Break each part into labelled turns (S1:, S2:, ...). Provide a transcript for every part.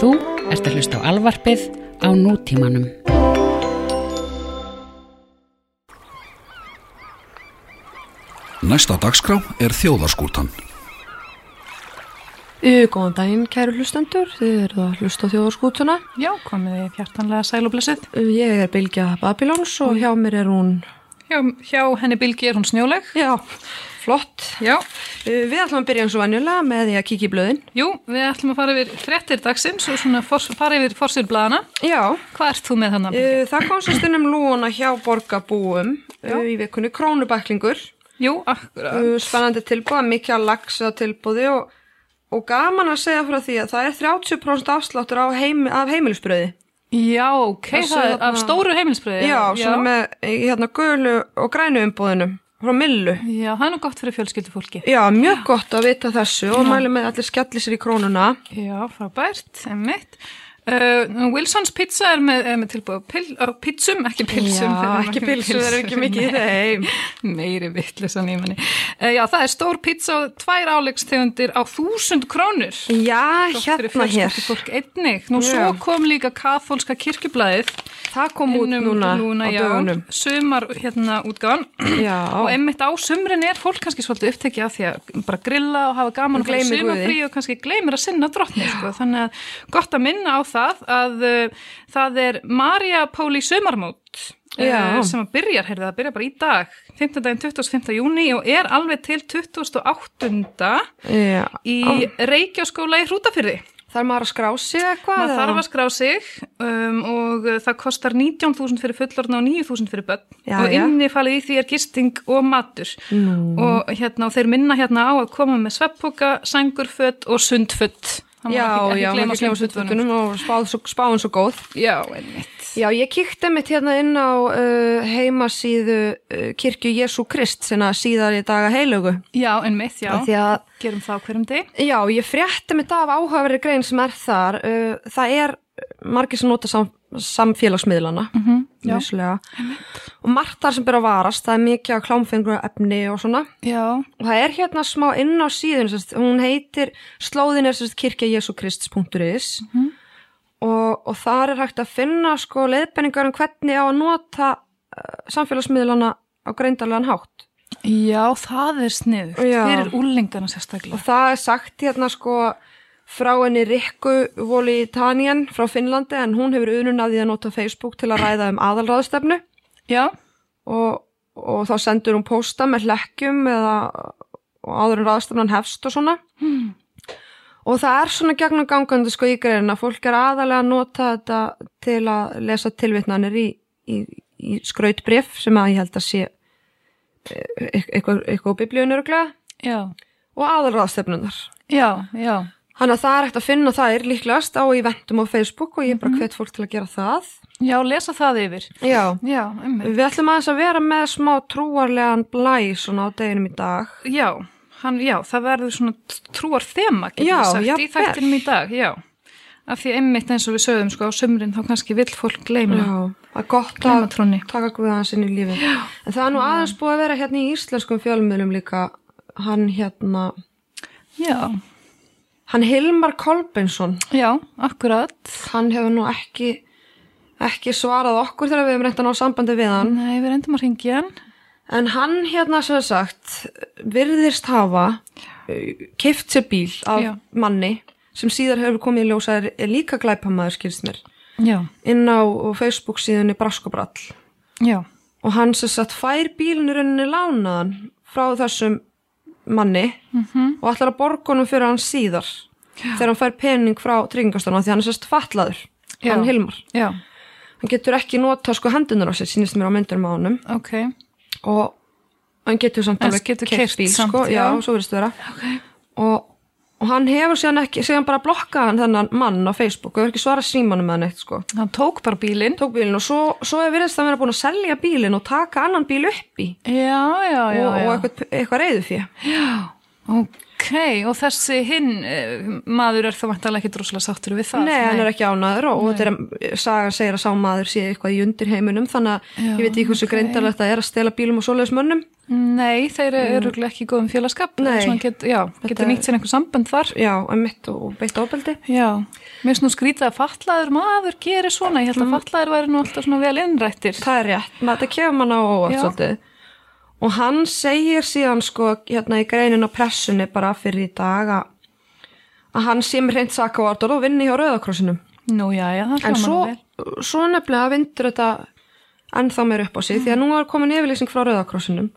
S1: Þú ert að hlusta á alvarpið á nútímanum.
S2: Næsta dagskrá er þjóðarskútan.
S3: Uh, Góðan daginn, kæru hlustendur. Þið eruð að hlusta á þjóðarskútuna.
S4: Já, komið þið hjartanlega sæl og blessið.
S3: Uh, Ég er Bilgja Babilóns og hjá mér er hún,
S4: Hjá, hjá henni Bilgi er hún snjóleg.
S3: já, flott.
S4: Já,
S3: Uh, Við ætlum að byrja eins og vanjulega með því að kíkja í blöðin.
S4: jú, við ætlum að fara yfir frettir dagsins og svona fors, fara yfir forsir blaðana.
S3: Já,
S4: Hvað ert þú með þannig?
S3: uh, það kom svo stundum lúuna hjá borgarbúum uh, í vikunni krónubæklingur.
S4: Jú, akkurat.
S3: Uh, Spennandi tilbúð, mikið að lagsa tilbúði og, og gaman að segja frá því að það er 30% afsláttur á heim, af heimilisbröði.
S4: Já, ok,
S3: það
S4: það,
S3: sé
S4: er af
S3: þarna-
S4: stóru heimilsbreiði.
S3: Já, svona með í, hérna gulu og grænu umbúðinum frá millu.
S4: Já, það er nú gott fyrir fjölskyldufólki.
S3: Já, mjög gott að vita þessu og mælum með að allir skellir sér í krónuna.
S4: Já, frábært, emmitt. Uh, Wilsons pizza er með, er með tilbúið á pil, á pizzum, ekki pilsum. þeir
S3: Já,
S4: eru
S3: ekki
S4: með
S3: pilsu, það er ekki mikið í
S4: Nei.
S3: þeim.
S4: meiri vittlisan í manni. Uh, já, það er stór pizza og tvær áleggstegundir á þúsund krónur.
S3: Já, hérna hér.
S4: Fólk einnig. Nú
S3: Já.
S4: svo kom líka kathólska kirkjublaðið. um
S3: Það kom út
S4: Innum
S3: núna, á
S4: já,
S3: dögunum.
S4: Sumar, hérna, útgáðan. Og
S3: Já,
S4: einmitt á sumrin er fólk kannski svolítið upptekið af því að bara grilla og hafa gaman
S3: Og
S4: og fara
S3: gleymir
S4: sumarfrí og kannski gleymir að sinna drottni. Sko. Þannig að gott að minna á það að uh, það er Marja Páli sumarmót
S3: Já.
S4: uh, sem að byrjar, heyrðu, það byrjar bara í dag, 15. daginn 25. júni og er alveg til 28.
S3: já.
S4: í Reykjaskóla í Hrútafyrði.
S3: Þarf maður að skrá sig eitthvað?
S4: Maður
S3: eða?
S4: þarf að skrá sig um, og uh, það kostar 19.000 fyrir fullorðna og 9.000 fyrir börn
S3: Já,
S4: og
S3: já.
S4: innifalið í því er gisting og matur
S3: Nú.
S4: og hérna og þeir minna hérna á að koma með sveppoka, sængurfött og sundfött. Það má
S3: Já,
S4: ekki- ekki
S3: já,
S4: gleyma
S3: maður glemur
S4: sundfötunum.
S3: sundvökunum og spáð svo- spáin svo góð.
S4: Já, einmitt.
S3: Já, ég kíkti mitt hérna inn á uh, heimasíðu uh, kirkju Jésu Krist sinna síðar í daga heilugu.
S4: Já, einmitt, já.
S3: Af Því að
S4: Gerum það á hverjum deg.
S3: Já, ég frétti mitt af áhafari grein sem er þar. Uh, það er margir sem nota sam, samfélagsmiðlana, mm -hmm,
S4: já.
S3: Og margt þar sem byrja að varast, það er mikið að klámfengur efni og svona.
S4: Já,
S3: Og það er hérna smá inn á síðun, sérst, hún heitir slóðin er sérst kirkjajesukrists.is og, og þar er hægt að finna sko leiðbenningar um hvernig á að nota uh, samfélagsmiðlana á greindarlegan hátt.
S4: já, það er sniðugt.
S3: Já.
S4: Fyrir úlingana
S3: Og
S4: sérstaklega.
S3: það er sagt hérna sko frá henni Rikku Voli Tanjan frá Finnlandi en hún hefur unun að því að nota Facebook til að ræða um aðalráðstefnu
S4: Já,
S3: og, og þá sendur hún posta með hlekkjum eða og áður en ráðstefnan hefst og svona. Og það er svona gegnum gangandi sko í greinin að fólk er aðalega að nota þetta til að lesa tilvitnanir í, í, í skrautbrif sem að ég held að sé eh, eit- eitthvað, eitthvað á biblíunur og
S4: já,
S3: og aðalráðstefnunar.
S4: já, já.
S3: Þannig að það er hægt að finna það er líklegast á eventum á Facebook og ég er bara hvet fólk til að gera það.
S4: Já, lesa það yfir.
S3: Mhm. Já.
S4: Já, einmitt.
S3: Við ætlum aðeins að vera með smá trúarlegan blæ svona á deginum í dag.
S4: Já, hann, já, það verður svona trúar þema, getur
S3: Já,
S4: við sagt,
S3: jafnvel.
S4: í þættinum í dag, já. Af því einmitt eins og við sögum, sko, á sömurinn þá kannski vill fólk gleyma,
S3: Það er gott
S4: gleyma
S3: að
S4: trúni.
S3: taka guð aðeins inn í lífi. Já. En það er nú aðeins búið að vera hérna í íslenskum fjölmiðlum líka hann hérna,
S4: Já,
S3: hann Hilmar Kolbensson,
S4: já, akkurat.
S3: hann hefur nú ekki ekki svarað okkur þegar við hefum reynt að ná sambandi við hann
S4: Nei, við reyndum að ringja hann.
S3: En hann hérna sem sagt virðist hafa keift sér bíl af
S4: Já.
S3: manni sem síðar hefur komið í ljósa er, er líka glæpamaður skilst mér
S4: Já,
S3: inn á Facebook síðunni Braskobrall
S4: já,
S3: og hann sem sagt fær bílinu rauninni lánaðan frá þessum manni -hmm.
S4: Mhm.
S3: og ætlar að borga honum fyrir hann síðar þegar hann fær pening frá tryggingastofnun af því hann er sérst fatlaður,
S4: Já.
S3: hann Hilmar
S4: já,
S3: hann getur ekki nota sko hendunar á sér sínist mér á myndunum á honum
S4: ok.
S3: og hann getur samt
S4: En
S3: alveg
S4: getur
S3: keypt
S4: keypt samt,
S3: sko, já,
S4: já.
S3: svo verðist það vera og, og hann hefur síðan ekki síðan bara blokkað hann þennan mann á Facebook og hefur ekki svarað símanum með hann eitt sko
S4: Hann tók bara bílinn.
S3: tók bílinn og svo, svo hefur verðist það vera búin að selja bílinn og taka annan bíl upp í
S4: Já, já,
S3: og,
S4: já, já.
S3: og eitthvað, eitthvað reyðu fyrir
S4: Ok, og þessi hinn eh, maður er þá vantarlega ekki droslega sáttur við það.
S3: Nei, hann er ekki ánæður og, og þetta er sagan segir að sá maður sé eitthvað í undir heiminum þannig að
S4: Já,
S3: ég veit ekki hversu
S4: ok.
S3: greindarlegt það er að stela bílum og svoleiðis mönnum
S4: Nei, þeir eru mm. ekki í góðum félagskap
S3: Nei.
S4: Svona get, Já,
S3: Þetta-
S4: getur nýtt sér einhver sambönd þar
S3: Já, emitt og og beitt ofbeldi.
S4: Já, mér finnst nú skrítið að fatlaður maður gerir svona, ég held að fatlaður væri nú alltaf svona vel innrættir
S3: Það er rétt, maður þetta kemur mann á óvart
S4: Já.
S3: svolítið. Og hann segir síðan sko hérna í greinin á pressunni bara fyrir í dag að, að hann sé mér hreint sakavart og vinni hjá Rauðakrossinum.
S4: Nú, já, já, það
S3: En
S4: hljómar
S3: svo,
S4: nú vel
S3: svo nefnilega vindur þetta ennþá meir upp á sig því að nú er komin yfirlýsing frá Rauðakrossinum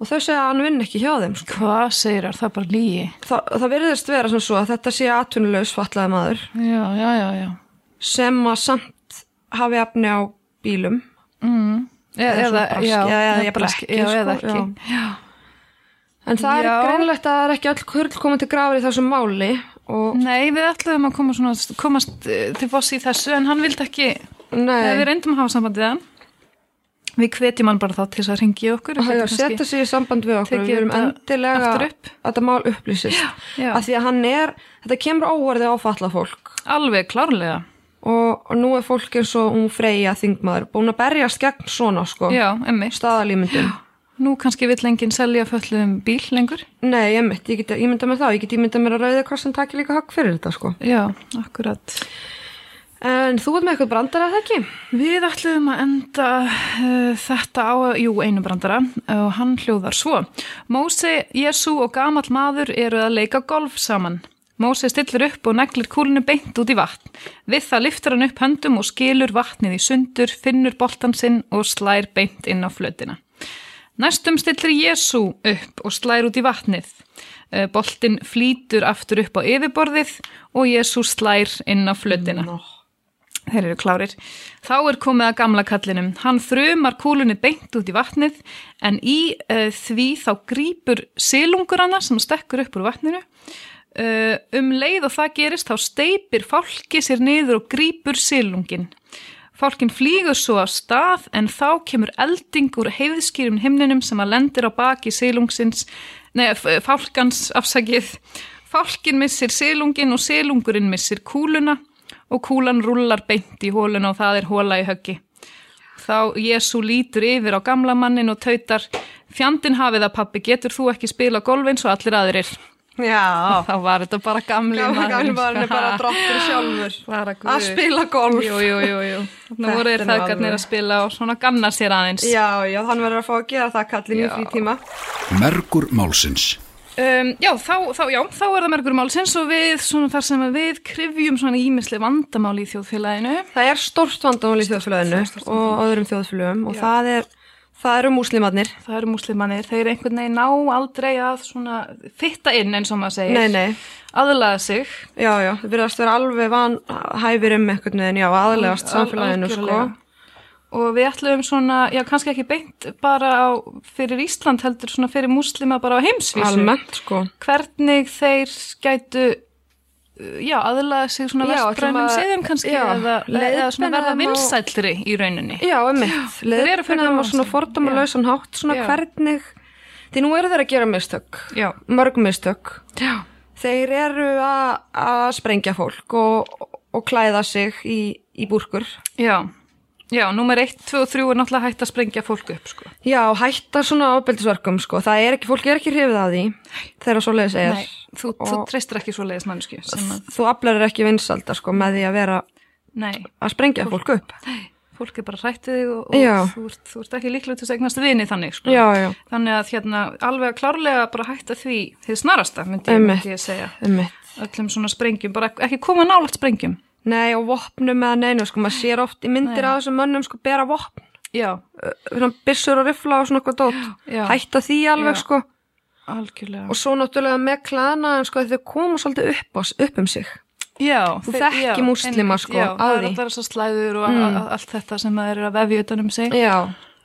S3: og þau segja að hann vinn ekki hjá þeim. Sko.
S4: Hvað segir þar, það er bara lígi
S3: Það, það virðist vera sem svo að þetta sé atvinnulegs fatlaði maður
S4: Já, já, já, já
S3: sem að samt hafi efni á bílum
S4: mm. Eða,
S3: Eða
S4: eða,
S3: svona brask-
S4: já,
S3: já, eða
S4: eða
S3: jafnvel
S4: brask-
S3: ekki,
S4: já,
S3: sko,
S4: eða ekki. Já.
S3: En það
S4: Já.
S3: er greinlegt að það er ekki öll kurl komið til grafur í þessu máli og
S4: Nei, við ætluðum að koma svona, komast eh, til fossi í þessu en hann vildi ekki Nei, við
S3: nei,
S4: reyndum að hafa sambandið hann Við hvetjum hann bara þá til þess að ringi okkur
S3: það er að setja sig í samband við okkur,
S4: tekið
S3: við erum
S4: þetta
S3: endilega
S4: aftur
S3: að
S4: upp.
S3: þetta mál upplýsist
S4: já.
S3: að því að hann er, þetta kemur óvarði á falla fólk
S4: Alveg klárlega
S3: og, og nú er fólk eins og hún freyja þingmaður búin að berjast gegn svona sko
S4: Já, emmi
S3: staðalímyndum
S4: Nú kannski vill enginn selja fölluðum bíl lengur
S3: Nei, ég, mitt, ég get að ímynda með það, ég get ímynda mér að rauða hvað sem takir líka högg fyrir þetta sko
S4: Já, akkurat
S3: En þú ert með eitthvað brandar að það ekki?
S4: Við ætluðum að enda uh, þetta á, jú, einu brandara og hann hljóðar svo. Mósi, Jésu og gamall maður eru að leika golf saman. Mósi stillir upp og neglir kúlinu beint út í vatn. Við það liftur hann upp höndum og skilur vatnið í sundur, finnur boltan sinn og slær beint inn á flötina. Næstum stillir Jésu upp og slær út í vatnið. Eh, Boltinn flýtur aftur upp á yfirborðið og Jésu slær inn á flötina. Þeir eru klárir. Þá er komið að gamla kallinum. Hann þrumar kúlunni beint út í vatnið en í uh, því þá grípur silungur hana sem stekkur upp úr vatninu. Uh, um leið og það gerist þá steipir fálki sér niður og grípur silungin. Fálkin flýgur svo af stað en þá kemur elding úr heiðskýrum himninum sem að lendir á baki silungsins, nei, f- fálkans afsakið. Fálkin missir silungin og silungurinn missir kúluna og kúlan rullar beint í hóluna og það er hóla í höggi. Þá Jésu lítur yfir á gamla mannin og tautar, fjandin hafið að pappi, getur þú ekki spila golf eins og allir aðrir?
S3: Já,
S4: Þá var þetta bara gamli
S3: gamla gamla maðurinn er bara
S4: Ha,
S3: droppur sjálfur
S4: bara guð.
S3: að spila golf
S4: Jú, jú, jú, jú. Þannig
S3: Þetta
S4: voru
S3: er
S4: þeir
S3: nú
S4: þaðgarnir
S3: alveg.
S4: að spila og svona ganna sér aðeins.
S3: Já, já, hann verður að fá að gera það kallin í frítíma.
S2: Mergur málsins.
S4: Um, já, þá, þá, já, þá er það mergur málsins og við, svona þar sem að við krifjum svona ímislega vandamál í þjóðfélaginu.
S3: Það er stórt vandamál í þjóðfélaginu og öðrum þjóðfélagum og það er, það eru múslimarnir.
S4: Það eru múslimannir, þeir einhvern veginn ná aldrei að svona fitta inn eins og maður segir.
S3: Nei, nei,
S4: Aðlaða sig.
S3: já, já, það virðast vera alveg vanhæfir um einhvern veginn, já, aðlegast samfélaginu, sko.
S4: Algjörlega. Og við ætlum svona, já kannski ekki beint bara á, fyrir Ísland heldur svona fyrir múslima bara á heimsvísu.
S3: Almennt, sko.
S4: Hvernig þeir gætu, uh, já, aðlaða sig svona
S3: Já, ætlum
S4: vestrænum
S3: að-
S4: siðum kannski
S3: já,
S4: eða, eða
S3: leiðbeina
S4: svona verða
S3: þeim á-
S4: vinsællri í rauninni.
S3: Já, emmitt. Þeir
S4: eru frekar
S3: á svona
S4: vanhæfir.
S3: fordamalausan hátt, svona
S4: Já.
S3: hvernig, því nú eru þeir að gera mistök,
S4: Já.
S3: mörg mistök.
S4: Já.
S3: Þeir eru að, að sprengja fólk og, og klæða sig í, í búrkur.
S4: Já. Já, númer 1, 2 og 3 er náttúrulega hægt að sprengja fólk upp, sko.
S3: Já, hætta svona ábeldisverkum sko, það er ekki, fólk er ekki hrifið að því þegar svo leiðis er.
S4: Nei, þú, þú treystir ekki svo leiðis mannskju sem að,
S3: Þú aflarir ekki vinsalda sko með því að vera
S4: nei,
S3: að sprengja fólk upp.
S4: fólk er bara hrættið þig og,
S3: Já.
S4: og þú, ert, þú ert ekki líklega til þess að eignast vini þannig sko.
S3: Já, já.
S4: þannig að hérna alveg klárlega bara hætta því þið snarasta myndi, ég-
S3: Einmitt.
S4: myndi ég segja
S3: Einmitt.
S4: öllum svona sprengjum, bara ekki koma nálægt sprengjum
S3: Nei og vopnum eða neinu sko, maður sér oft í myndir
S4: Nei.
S3: af þessum mönnum sko bera vopn,
S4: já,
S3: ö, svona byssur og rifla og svona eitthvað dótt.
S4: Já.
S3: Hætta því alveg
S4: Já.
S3: sko
S4: algjörlega
S3: og svo náttúrulega með klana en sko þau koma svolítið upp, á, s- upp um sig.
S4: já,
S3: Þú
S4: þe-
S3: þekki
S4: já,
S3: múslima,
S4: einmitt,
S3: sko,
S4: já,
S3: að
S4: það
S3: því.
S4: er alltaf þessar slæður og mm. allt þetta sem það eru að vefja utan um sig
S3: Já,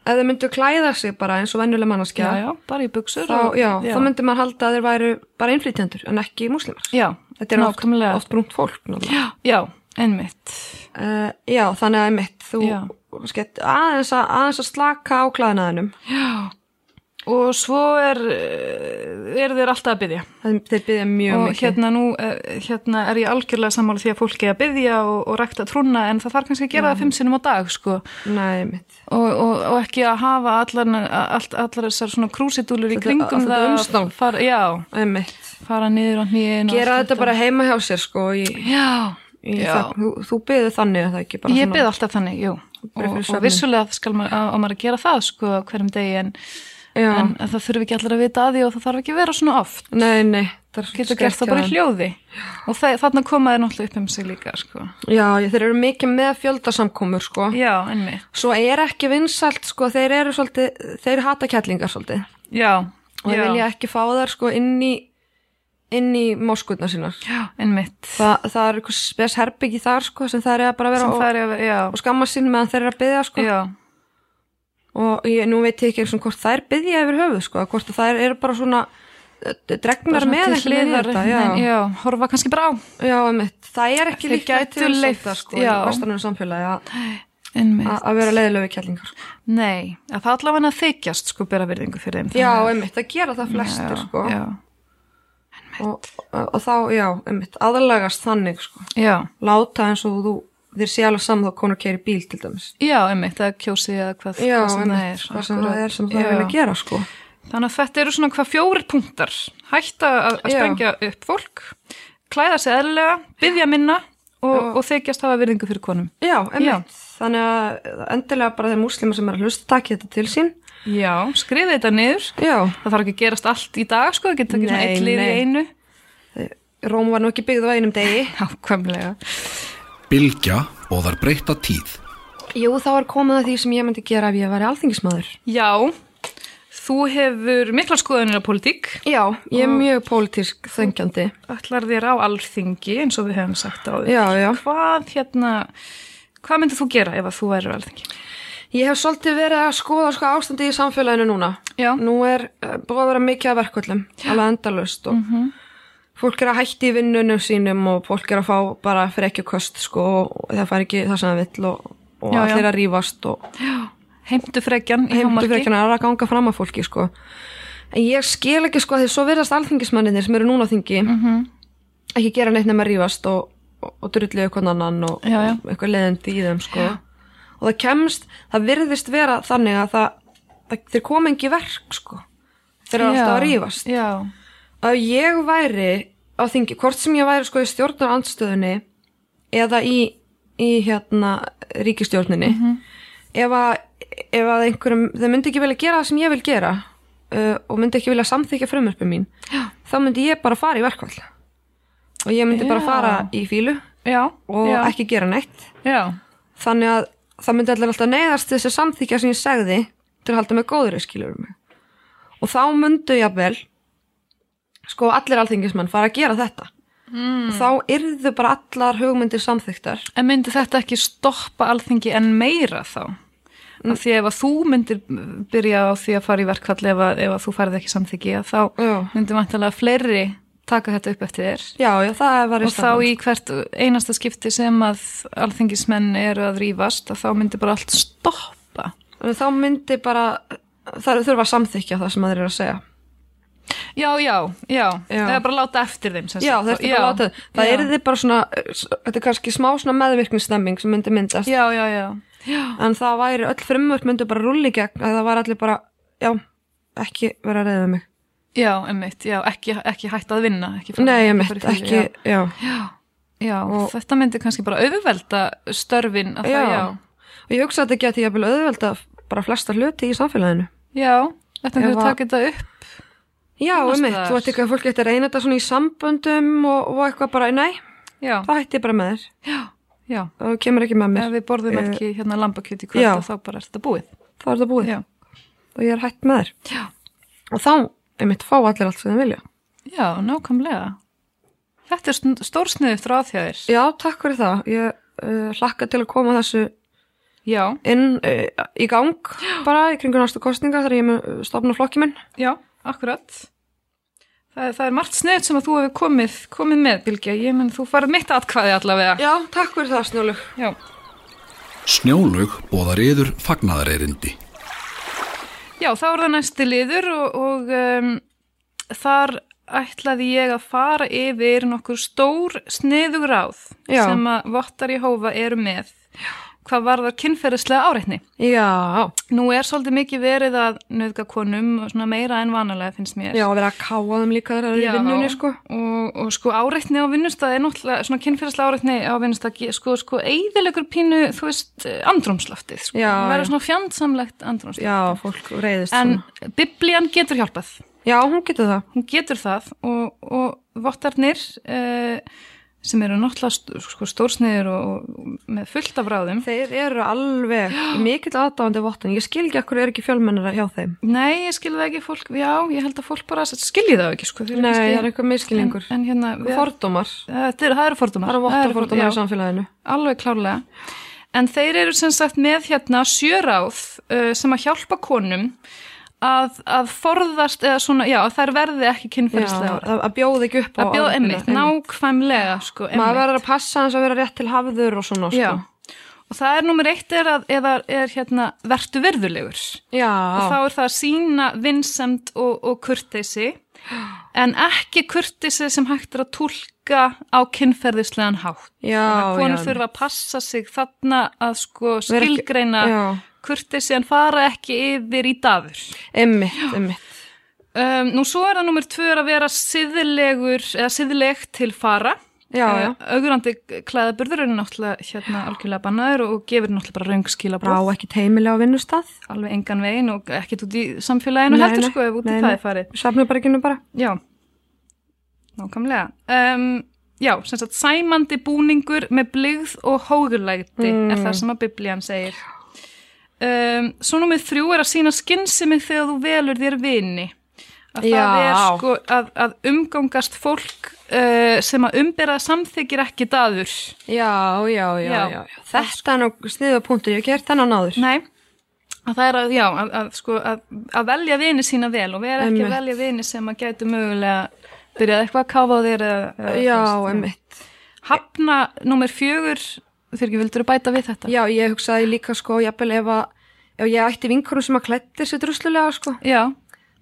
S3: ef þau myndu klæða sig bara eins og venjuleg manneskja.
S4: já, já, bara í buksur
S3: Þá,
S4: og,
S3: já, þá myndi maður halda að þeir væru bara innflytjendur en ekki múslimar.
S4: já,
S3: Þetta er oft,
S4: nákvæmlega
S3: oft brúnt fólk. náttúrulega.
S4: Já, já, einmitt
S3: Uh, já, þannig að mitt, þú
S4: Já.
S3: skett aðeins að, aðeins að slaka á klæðnaðinum.
S4: já, og svo er, eh, eru þeir alltaf að byggja
S3: Það- Þeir byggja mjög
S4: og
S3: mikið.
S4: hérna nú eh, hérna er ég algjörlega sammála því að fólki að byggja og, og rækta trúna en það þarf kannski að gera það fimm sinnum á dag sko
S3: Nei, mitt.
S4: og, og, og ekki að hafa allar, all, allar þessar svona krúsidúlur í
S3: Þetta-
S4: kringum
S3: þetta umstang.
S4: fara, já,
S3: Einmitt.
S4: fara niður á hnýin
S3: Gera þetta bara heima hjá sér, sko. Í,
S4: já,
S3: í
S4: já.
S3: það, þú þú byggði þannig að það ekki bara
S4: ég byrði alltaf þannig, jú
S3: Bara
S4: og,
S3: fyrir
S4: og
S3: svefninn.
S4: vissulega skal maður, á, á maður að gera það sko á hverjum degi en,
S3: Já.
S4: en það þurfi ekki allir að vita að því og það þarf ekki að vera svona oft
S3: Nei, nei. það er
S4: getur
S3: svolítið
S4: gert
S3: skert
S4: það bara í
S3: hjá þeim.
S4: hljóði og það, þarna koma þeir náttúrulega upp um sig líka sko.
S3: Já, ég- þeir eru mikið með fjöldasamkomur, sko.
S4: já, einmitt
S3: Svo er ekki vinsalt, sko, þeir eru svolítið, þeir hata kettlingar svolítið.
S4: já,
S3: Og þeir
S4: já,
S3: vilja ekki fá þær, sko, inn í, inn í moskutna sínar.
S4: já, einmitt
S3: Þa, það er eitthvað spes herbyggi þar, sko, sem þær er að bara vera
S4: sem
S3: og,
S4: það er að vera,
S3: og
S4: já,
S3: skamma sín meðan þeir eru að byggja, sko.
S4: já
S3: og ég, nú veit ég ekki eins og hvort þær byggja yfir höfuð sko, hvort að þær eru bara svona eh, dregnar
S4: Bara svona
S3: með einhvern veginn
S4: til
S3: í þetta,
S4: hliðar, einhvern veginn,
S3: já,
S4: já, horfa kannski bara á
S3: já, einmitt. það er ekki
S4: Þeir
S3: líka
S4: gætu
S3: til
S4: leyft,
S3: þetta sko, í
S4: já.
S3: vestanum samfélagi að-
S4: einmitt,
S3: að að vera leiðilegu kjallingar sko.
S4: nei, að það allavega að þykjast sko bera virðingu fyrir þeim
S3: já,
S4: þannig að-
S3: einmitt, það gera það flestir
S4: já,
S3: sko.
S4: já,
S3: og, og, og þá, já, einmitt, aðlagast þannig sko.
S4: já,
S3: láta eins og þú þér sé alveg saman þá konur keiri bíl til dæmis
S4: já, einmitt eða kjósi eða hvað,
S3: já,
S4: hvað sem það
S3: einmitt,
S4: er
S3: hvað sem
S4: akkurat.
S3: það er sem það
S4: Já.
S3: vilja gera sko.
S4: Þannig að þetta eru svona hvað fjórir punktar. Hætta að, að
S3: Já.
S4: sprengja upp fólk, klæða sig eðlilega, byggja minna og, og þykjast hafa virðingu fyrir konum.
S3: já, einmitt þannig að endilega bara þeir múslima sem er að hlusta takja þetta til sín
S4: Já, skriði þetta niður.
S3: já,
S4: Það þarf ekki að gerast allt í dag, sko, það getur ekki svona
S3: Nei,
S4: eitt lið í
S3: nei.
S4: einu.
S3: Róm var nú ekki byggð á einum degi.
S4: Nákvæmlega.
S2: Bylgja og þar breyta tíð.
S3: Jú, þá er komið að því sem ég myndi gera ef ég væri alþingismæður.
S4: Já, þú hefur mikla skoðanir á politík,
S3: Já, ég er mjög pólitísk þengjandi.
S4: ætlar þér á alþingi, eins og við hefum sagt á því.
S3: Já, já.
S4: Hvað hérna, hvað myndir þú gera ef að þú værir á alþingi?
S3: Ég hef svolítið verið að skoða sko ástandi í samfélaginu núna.
S4: Já.
S3: Nú er eh, búið að vera mikið að verkvöldum, alveg endalust og fólk er að hætti í vinnunum sínum og fólk er að fá bara fyrir ekki kost sko og það fær ekki það sem það vill og, og
S4: Já, já.
S3: allir að rífast og
S4: Heimtu frekjan í hámarki.
S3: heimtu fyrir ekki að að ganga fram að fólki sko. en ég skil ekki sko að því svo virðast alþingismanninir sem eru núna á þingi
S4: Mhm.
S3: -hmm. ekki gera neitt nema að rífast og, og, og drullu eitthvað annan og,
S4: Já, já.
S3: og eitthvað leiðandi í þeim sko. og það kemst, það virðist vera þannig að það, það þeir koma ekki í verk sko. þeir eru
S4: Já,
S3: alltaf að rífast
S4: Já,
S3: að ég væri á þingi, hvort sem ég væri sko í stjórnar andstöðunni eða í, í hérna ríkistjórninni
S4: Mhm.
S3: ef að, ef að einhverjum, þau myndi ekki vilja gera það sem ég vil gera uh, og myndi ekki vilja samþykja frumörpum mín Já. þá myndi ég bara fara í verkvall og ég myndi bara
S4: Já.
S3: fara í fílu
S4: já,
S3: og
S4: já,
S3: ekki gera neitt
S4: já,
S3: þannig að það myndi allir alltaf neyðast til þess að samþykja sem ég segði til að halda mig góður skilurum mig og þá myndu ég að vel sko allir alþingismenn fara að gera þetta
S4: Hmm.
S3: mm. og þá yrðu bara allar hugmyndir samþyktar
S4: en myndi þetta ekki stoppa alþingi en meira þá?
S3: Mm.
S4: Af því ef að þú myndir byrja á því að fara í verkfall ef að, ef að þú farið ekki samþyggi að þá
S3: Já.
S4: myndir vantilega fleiri taka þetta upp eftir þér
S3: já, já, það var
S4: og þá í hvert einasta skipti sem að alþingismenn eru að rífast að þá myndir bara allt stoppa
S3: í... þá myndi bara það þurfa að samþykja það sem þeir eru að segja
S4: Já, já, já,
S3: Já.
S4: eða bara láta eftir þeim sem sagt.
S3: já, þetta er bara látið það
S4: já.
S3: yrði bara svona, þetta er kannski smá svona meðvirkningsstemming sem myndi myndast
S4: Já, já, já, já,
S3: en það væri, öll frumvörp myndu bara rúli gegn að það væri allir bara, já ekki vera að reyða mig
S4: já, emmitt, já, ekki, ekki hætta að vinna ekki fara-
S3: Nei, ég
S4: fara
S3: mitt,
S4: í fýlu, já.
S3: ekki, já.
S4: Já,
S3: Og-
S4: þetta myndi kannski bara auðvelda störfin að
S3: Já.
S4: það, já.
S3: Og ég hugsa að þetta geti jafnvel auðvelda bara flesta hluti í samfélaginu.
S4: Já, þetta
S3: Ef
S4: myndi
S3: að-
S4: taka þetta upp.
S3: Já, um
S4: Annars
S3: mitt,
S4: staðar.
S3: þú veit ekki að fólk geti að reyna þetta svona í samböndum og, og eitthvað bara, nei,
S4: Já,
S3: það hætti ég bara með þér
S4: já.
S3: og kemur ekki með mér,
S4: Ef við borðum
S3: Eh,
S4: ekki hérna lambakjöt í
S3: já.
S4: kvölda þá bara er þetta búið.
S3: þá er það búið
S4: Já,
S3: og ég er hætt með þér. Já. Og þá, um mitt, fá allir allt sem þeim vilja.
S4: já, nákvæmlega. Þetta er sn- stórsniðugt ráð hjá þér.
S3: Já, takk fyrir það. Ég uh, hlakka til að koma þessu
S4: Já,
S3: inn uh, í gang bara í kringu næstu kostninga þegar ég er með eh, stofna flokki minn.
S4: já, akkurat. Það, það er margt sniðut sem að þú hefur komið, komið með, Bilgja. Ég menn, þú farið mitt atkvæði allavega.
S3: Já, takk fyrir það, Snjólug.
S4: já.
S2: Snjólug bóðar yður fagnaðarerindi.
S4: Já, þá er það næsti liður og, og um, þar ætlaði ég að fara yfir nokkur stór sniðug ráð
S3: Já.
S4: sem að vottar í hófa eru með hvað varðar kynferðislega áreitni.
S3: Já,
S4: Nú er svolítið mikið verið að nöðga konum og svona meira en vanalega finnst mér.
S3: já, að vera að káa þeim líka þegar það er í vinnunni, sko.
S4: og, og sko áreitni á vinnustæði er náttúrulega svona kynfyrirslega áreitni á vinnustæði sko, sko eiðilegur pínu þú veist andrumslaftið sko.
S3: Já,
S4: Það verður
S3: já.
S4: svona fjandsamlegt andrumslaftið
S3: Já, fólk reyðist
S4: en
S3: svona.
S4: biblían getur hjálpað
S3: Já, hún getur það.
S4: hún getur það og, og vottarnir eh, sem eru náttúrulega st- sko, stórsniður og, og með fullt af ráðum
S3: Þeir eru alveg mikill aðdáðandi vottan. Ég skil ekki akkur er ekki fjölmennara hjá þeim.
S4: Nei, ég skilði það ekki fólk, já, ég held að fólk bara skilji það ekki, sko. þeir eru
S3: Nei,
S4: kannski-
S3: það er eitthvað miskilningur.
S4: En, en hérna, við,
S3: Fordómar.
S4: þetta er, það eru fordómar.
S3: Það eru
S4: já.
S3: vottafordómar í samfélaginu.
S4: Alveg klárlega. En þeir eru sem sagt með hérna sjöráð uh, sem að hjálpa konum að, að forðast eða svona, já, þær verði ekki
S3: Já,
S4: kynferðislega ára.
S3: að að bjóða ekki upp á
S4: Að bjóða
S3: áreitnina.
S4: emmitt, nákvæmlega, sko,
S3: Maður
S4: emmitt.
S3: verður að passa hans að vera rétt til hafður og svona, sko.
S4: Já. Og það er nummer eitt er að, eða er hérna, vertu verðulegur.
S3: Já.
S4: Og þá er það að sína vinsemd og, og kurteisi, en ekki kurteisi sem hægt er að tólka á kynferðislegan hátt.
S3: já,
S4: konur
S3: já.
S4: þurfa að passa sig þarna að sko
S3: Vera ekki-
S4: skilgreina
S3: Já.
S4: kurtesi en fara ekki yfir í dafur.
S3: Emmitt, emmitt.
S4: Um, nú svo er það nummer tvö er að vera siðlegur eða siðlegt til fara. Eh,
S3: Já, já.
S4: Ögrandi klæðaburður eru náttúrulega hérna algjörlega bannaður og gefur náttúrulega bara röngskila
S3: Brá ekki teimilega á vinnustað.
S4: alveg engan veginn og ekkert út í samfélaginu
S3: Nei,
S4: heldur
S3: nei,
S4: sko ef út í
S3: nei,
S4: það
S3: nei.
S4: er farið.
S3: Svefnuberginu bara.
S4: Já, nákvæmlega. Um, já, sem sagt, sæmandi búningur með bligð og hóðurlæti
S3: Mm.
S4: er það sem að biblían segir. Um, svo númið þrjú er að sína skynsemi þegar þú velur þér vini. Að það
S3: Já.
S4: er sko að, að umgangast fyrk uh, sem að umbera samþykir ekki daður.
S3: Já, já, já,
S4: Já.
S3: já. já. Þetta er nú sniða punktur, ég hef gert þennan áður.
S4: Nei, að það er að, já, að, að, sko, að, að velja vini sína vel og vera ekki
S3: Einmitt.
S4: að velja vini sem að gætu mögulega byrjað eitthvað að káfa á þér eða, eða
S3: já,
S4: þú veist,
S3: emmitt.
S4: Hafna nummer fjögur, fyrir ekki vildur bæta við þetta?
S3: Já, ég hugsaði líka sko, jafnvel ef að, ef ég ætti vinkunum sem að klætti sér druslulega sko,
S4: Já,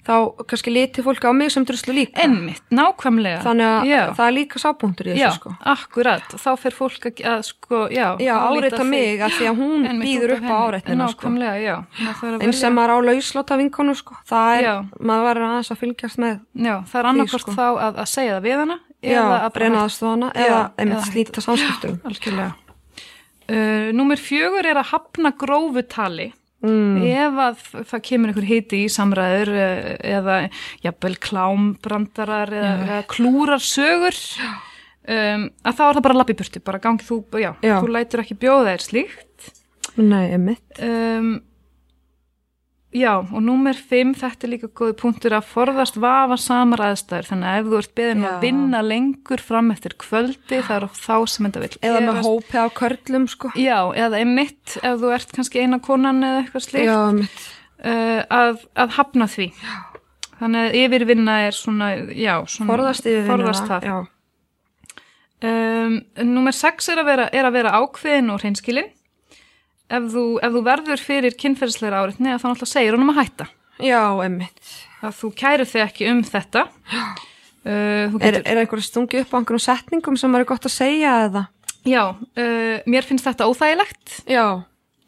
S3: þá kannski liti fólk á mig sem druslu líka.
S4: einmitt, nákvæmlega.
S3: Þannig að
S4: já.
S3: það er líka sápunktur í
S4: Já,
S3: þessu sko.
S4: akkurat, þá fer fólk að, að sko, já,
S3: Já,
S4: álíta
S3: áreita
S4: þig-
S3: mig af því að hún
S4: Einmitt,
S3: býður
S4: út af
S3: upp á
S4: henni.
S3: áreitnina sko.
S4: Nákvæmlega, já. Það þarf að
S3: En
S4: velja-
S3: sem maður á lauslota vinkonu sko, það er,
S4: Já.
S3: maður verður aðeins að fylgjast með.
S4: Já, það er annarkort
S3: sko.
S4: þá að, að segja það við hana
S3: Já,
S4: eða að bara
S3: reyna aðstofana
S4: Já,
S3: eða
S4: eða
S3: einmitt
S4: hætta.
S3: slíta samskiptum.
S4: Algjörlega. Uh, númer fjögur er að hafna grófu tali.
S3: Mm.
S4: Ef að það kemur einhver hiti í samræður uh, eða jafnvel klámbrandarar eða, eða klúrar sögur, um, að þá er það bara lapp í burtu, bara gangi þú, já,
S3: Já.
S4: þú lætur ekki bjóða þér slíkt.
S3: Nei, emmitt.
S4: Um, já, og númer fimm, þetta er líka góði punktur að forðast vafa samar aðstæður, þannig að ef þú ert beðin um
S3: Já.
S4: að vinna lengur fram eftir kvöldi, það er þá sem þetta vil
S3: Eða með
S4: gerast.
S3: hópið á körlum sko.
S4: Já, eða einmitt ef þú ert kannski eina konan eða eitthvað slíkt
S3: Já, emmitt.
S4: uh, að, að hafna því. Þannig að yfirvinna er svona, já, svona,
S3: Forðast yfir
S4: forðast það.
S3: Já.
S4: Um, númer 6 er að vera, er að vera ákveðin og hreinskilin. Ef þú, ef þú verður fyrir kynferðisleira áreitni þá náttúrulega segir honum að hætta.
S3: já, emmitt.
S4: Að þú kærir þig ekki um þetta. Uh, þú
S3: Er,
S4: getur,
S3: er einhverja stungi upp á einhverjum setningum sem maður er gott að segja eða?
S4: já, uh, mér finnst þetta óþægilegt.
S3: Já.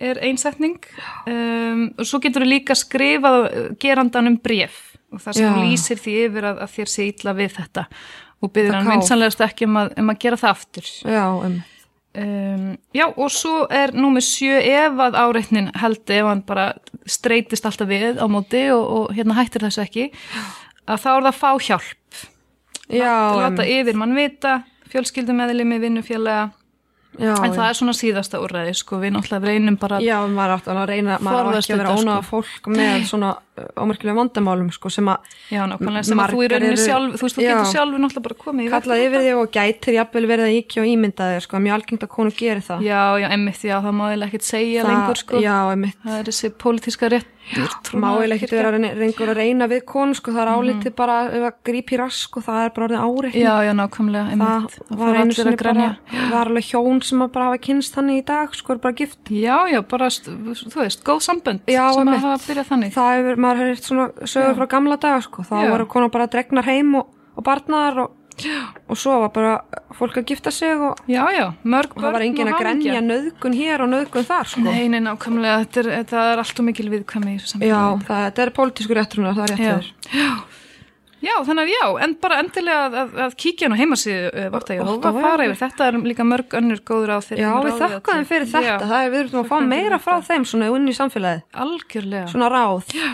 S4: er einsetning um, og svo getur þú líka skrifað uh, gerandanum bref og það sem
S3: Já.
S4: Já. lýsir því yfir að, að þér sé illa við þetta og byður
S3: Það
S4: hann
S3: kál.
S4: vinsanlegast ekki um að, um að gera það aftur
S3: Já, emmitt.
S4: um, Já, og svo er númer sjö ef að áreitnin held ef hann bara streytist alltaf við á móti og, og hérna hættir þessu ekki að þá er það að fá hjálp
S3: Já, um.
S4: láta
S3: emmitt.
S4: yfir mann vita fjölskyldumeðlimi, vinnufélaga
S3: Já,
S4: en það
S3: emmitt.
S4: er svona síðasta úrræði sko, við náttúrulega reynum bara að
S3: Já, um, maður átt að reyna, maður átt
S4: Forðast
S3: ekki að vera
S4: þetta, sko.
S3: ónaða fólk með svona ámerkilega vandamálum sko sem að
S4: Já, nákvæmlega, sem að þú í
S3: Margar
S4: rauninni
S3: eru-
S4: sjálf, þú veist, þú
S3: Já.
S4: getur sjálfur náttúrulega bara komið í veg
S3: kallað
S4: fyrir
S3: yfir þig og gætir jafnvel verið að ekki og ímynda þér sko, mjög algengt að konu gerir
S4: þetta.
S3: það.
S4: Já, já, emmitt, já, það má eiginlega ekkert segja lengur, sko.
S3: Já, emmitt.
S4: Það er þessi pólitíska rétt,
S3: má eiginlega ekkert vera að reyngur að reyna við konu sko, það er álítið bara ef að grípi rask og það er bara orðið áreikni
S4: Mhm. Já, já, nákvæmlega,
S3: það
S4: einmitt. Það
S3: var
S4: fór
S3: einu
S4: allir
S3: sinni
S4: að
S3: bara,
S4: grænja.
S3: það er alveg hjón sem að bara hafa kynst þannig í dag, sko, er bara gift
S4: Já, já, bara, st- þú veist, góð sambönd
S3: Já,
S4: sem
S3: einmitt.
S4: að hafa byrjað þannig.
S3: það hefur, maður hefur heyrt svona sögur frá gamla daga, sko, það
S4: Já.
S3: voru konar bara dregnar heim og, og barnaðar og, og svo var bara fólk að gifta sig og,
S4: Já, já, mörg
S3: og
S4: börn
S3: það var engin að
S4: hamingja.
S3: grenja nöðgun hér og nöðgun þar, sko
S4: Nei, nei, nákvæmlega, þetta er, þetta er allt og mikil viðkvæmi í þessu samfélagi.
S3: já, það, þetta er pólitískur réttunar, það er
S4: Já.
S3: réttur
S4: Já, þannig að já, en bara endilega að, að, að kíkja nú heimasíðu uh, Votta Jóhófa,
S3: Votta
S4: fara
S3: Jehóva.
S4: yfir þetta er líka mörg önnur góður á þeirra
S3: já, við þakkaðum fyrir þetta, það er, við erum að fá
S4: Þökkum fyrir
S3: meira frá þeim svona unni í samfélagið,
S4: Algjörlega
S3: svona ráð já,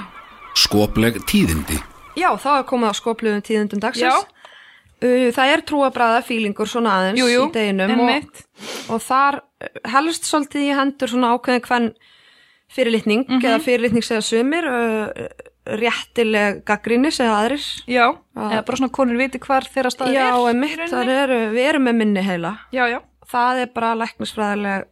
S2: Skopleg tíðindi.
S3: þá er komið að skopluðum tíðundum
S4: Já.
S3: dagsins Uh, það er trúabræða fílingur svona aðeins
S4: Jú, jú,
S3: í deginum og,
S4: einmitt.
S3: og þar eh, helst svolítið í hendur svona ákveðin hvern fyrirlitning
S4: Mhm.
S3: eða fyrirlitning segja sumir uh, réttileg gaggrinni segja aðrir
S4: Já, eða bara svona konur viti hvar þeirra staður
S3: já,
S4: er í
S3: emitt,
S4: rauninni.
S3: þar eru, við erum með minni heila
S4: Já, já,
S3: það er bara læknisfræðileg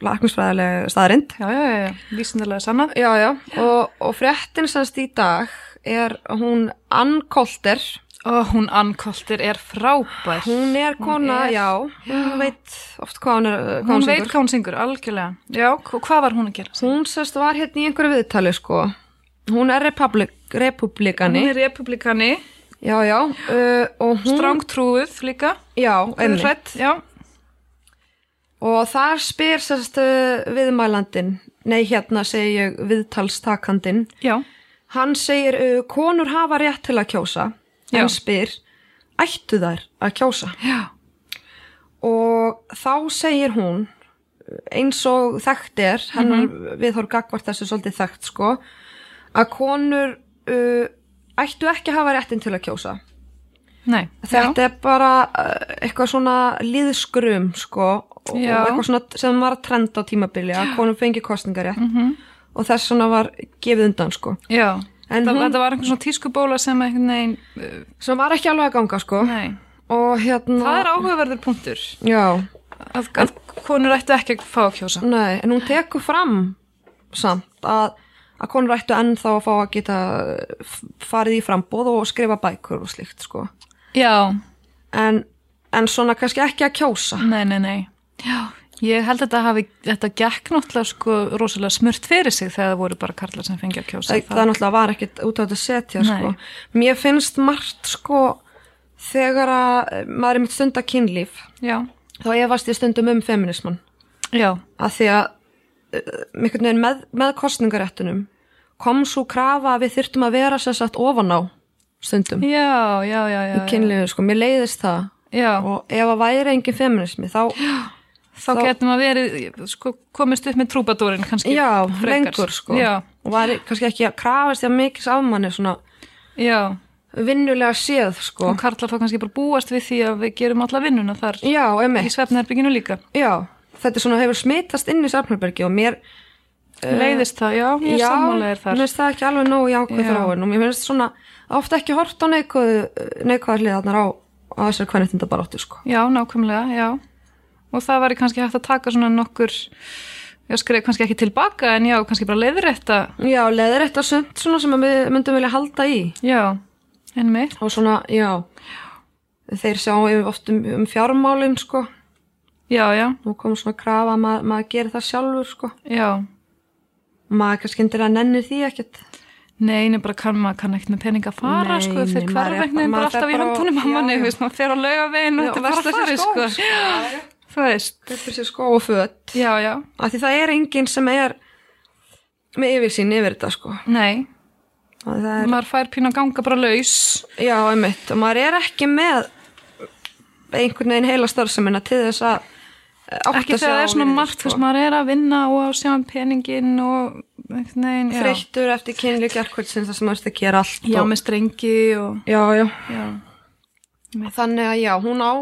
S3: læknisfræðileg staðarind
S4: já, já, já, já. vísindilega sannað
S3: já, já, og, og fréttin semst í dag er hún Ann Kolter
S4: Og hún ankoltir er frábær
S3: hún er kona,
S4: er-
S3: já, hún veit oft hvað hún er hvað
S4: Hún
S3: hún
S4: veit
S3: syngur.
S4: hvað hún syngur, algjörlega Já, og hvað var hún að gera?
S3: Hún sérst var hérna í einhverju viðtali sko. Hún er republik, republikani.
S4: Hún er republikani,
S3: Já, já. Uh, og hún...
S4: strangtrúið líka
S3: Já, einmitt.
S4: Hrædd, Já,
S3: Og þar spyr sérst uh, viðmælandin, nei hérna segi ég viðtalstakandin.
S4: já,
S3: Hann segir, uh, konur hafa rétt til að kjósa.
S4: Já.
S3: En spyr, ættu þær að kjósa?
S4: já,
S3: Og þá segir hún, eins og þekkt er, hennar mm -hmm. viðhorf gagvart þessu svolítið þekkt sko, að konur uh, ættu ekki að hafa réttin til að kjósa.
S4: nei
S3: Þetta er bara uh, eitthvað svona líðskrum sko, og
S4: Já.
S3: og eitthvað svona sem var að trenda á tímabili, að konur fengi kostningarétt -hmm. og þess svona var gefið undan sko.
S4: já, já.
S3: En
S4: Þa,
S3: hún-
S4: Þetta var einhvern svona tískubóla sem einhvern veginn, uh,
S3: Sem var ekki alveg að ganga sko.
S4: nei,
S3: Og hérna...
S4: það er áhugaverður punktur
S3: Já.
S4: að, að konur ættu ekki að fá að kjósa.
S3: Nei, en hún tekur fram samt að, að konur ættu ennþá að fá að geta eh, f- farið í frambóð og skrifa bækur og slíkt sko.
S4: Já,
S3: En, en svona kannski ekki að kjósa.
S4: nei, nei, nei. Já, ég held að þetta hafi, þetta gekk náttúrulega sko rosalega smurt fyrir sig þegar það voru bara karlar sem fengi að kjósa.
S3: Það, það, það náttúrulega var ekkit út á þetta setja
S4: Nei.
S3: sko. Mér finnst margt sko þegar að eh, maður er mitt stunda kynlíf
S4: Já,
S3: þá efast ég stundum um feminisman
S4: já,
S3: að því að uh, einhvern veginn með, með kostningaréttunum kom svo krafa að við þyrftum að vera sem sagt ofan á stundum
S4: já, já, já, já.
S3: í kynlífinu, sko, mér leiðist það
S4: Já,
S3: og ef að væri engin feminismi þá,
S4: þá, getum að verið, sko, komist upp með trúbadórin kannski.
S3: já,
S4: frekar.
S3: lengur sko
S4: Já,
S3: og væri kannski ekki að krafast ég mikils af manni svona
S4: já,
S3: vinnulega séð sko
S4: og karlar þá kannski bara búast við því að við gerum alla vinnuna þar
S3: já,
S4: í
S3: emi,
S4: svefnherbygginu líka.
S3: já þetta er svona hefur smitast inn í Safnarbergi og mér,
S4: Leiðist það, já, ég
S3: Eh, já,
S4: sammála
S3: mér
S4: er þar.
S3: finnst það ekki alveg nógu jákvæð
S4: Já.
S3: þráin og mér finnst svona ofta ekki hort á neikvæðar hliðarnar á, á þessari kvennetinda sko
S4: Já, nákvæmlega, já. Og það var kannski hægt að taka svona nokkur, já, skrið kannski ekki tilbaka, en já, kannski bara leiðrétta.
S3: já, leðir þetta sumt svona sem að við myndum vilja halda í
S4: Já, en mig.
S3: og svona, já þeir sjá yfir oft um, um fjármálin sko,
S4: Já, já,
S3: nú kom svona krafa að maður, maður gerir það sjálfur sko
S4: já.
S3: maður kannski endur að nenni því ekkert
S4: Nei, nei, bara kann maður kann ekkert með pening að fara,
S3: Nei,
S4: sko, ef þeir
S3: nei, maður er
S4: hverfegnin bara,
S3: bara-
S4: bara
S3: maður
S4: alltaf
S3: fer
S4: í
S3: bara á-
S4: handunum á
S3: já,
S4: manni,
S3: já.
S4: þú veist, maður fer á laugavegin og
S3: Já,
S4: þetta er bara
S3: versla
S4: að
S3: sér
S4: fara,
S3: skó,
S4: sko.
S3: sko. Já, já.
S4: Þú veist,
S3: þetta er sér sko og föt
S4: já, já,
S3: af því það er enginn sem er með yfirsýn yfir þetta sko
S4: nei,
S3: Af því það er,
S4: maður fær pín að ganga bara laus.
S3: já, einmitt, og maður er ekki með einhvern veginn heila starfsemina til þess að eh, átta
S4: Ekki
S3: sig á
S4: þegar það
S3: sko.
S4: er svona
S3: lífinu,
S4: margt, þú veist, maður er að vinna og að sjá um peningin og, nei, já.
S3: þreyttur eftir kynlu gerkvöldsins það sem maður að gera allt
S4: Já,
S3: og,
S4: með strengi og,
S3: já, já
S4: já.
S3: Þannig að já, hún á,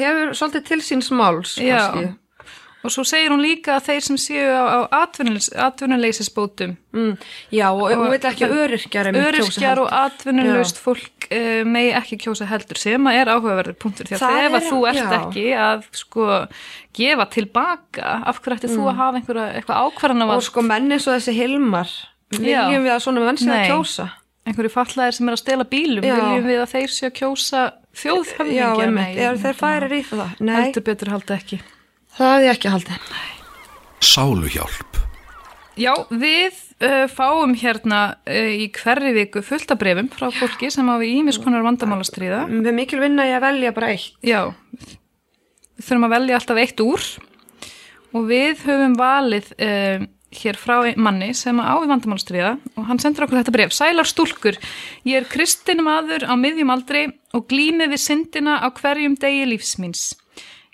S3: hefur svolítið til síns máls,
S4: Já.
S3: kannski.
S4: Og svo segir hún líka að þeir sem séu á, á atvinnuleysisbótum,
S3: Mm, já, og hún veit ekki öryrkjar einmitt
S4: öryrkjar
S3: kjósa
S4: og atvinnuleysist fólk uh, megi ekki kjósa heldur sem að er áhugaverður punktur því að
S3: Það
S4: ef að
S3: er-
S4: þú ert
S3: já.
S4: ekki að sko
S3: Mm.
S4: gefa tilbaka, af hverju ætti þú að hafa einhverja, eitthvað
S3: heldur.
S4: ákvarðanavald?
S3: sko Og sko menn eins og þessi Hilmar,
S4: Já.
S3: viljum við að svona menn sé
S4: Nei.
S3: að kjósa
S4: einhverju fallæðir sem er að stela bílum
S3: Já.
S4: viljum við að þeir séu að kjósa
S3: já,
S4: þjóðhöfðingja
S3: einmitt, er þeir færir í það? Nei,
S4: heldur betur halda ekki
S3: það hefði ég ekki haldið
S2: Sáluhjálp.
S4: já, við uh, fáum hérna uh, í hverri viku fullt af brefum frá fólki sem hafi ímis konar vandamála stríða
S3: Við erum mikil vinna í að velja bara eitt
S4: já, við þurfum að velja alltaf eitt úr og við höfum valið uh, hér frá ein- manni sem á við vandamálstríða og hann sendur okkur þetta bref Sælar stúlkur, ég er kristin maður á miðjum aldri og glými við syndina á hverjum degi lífsmins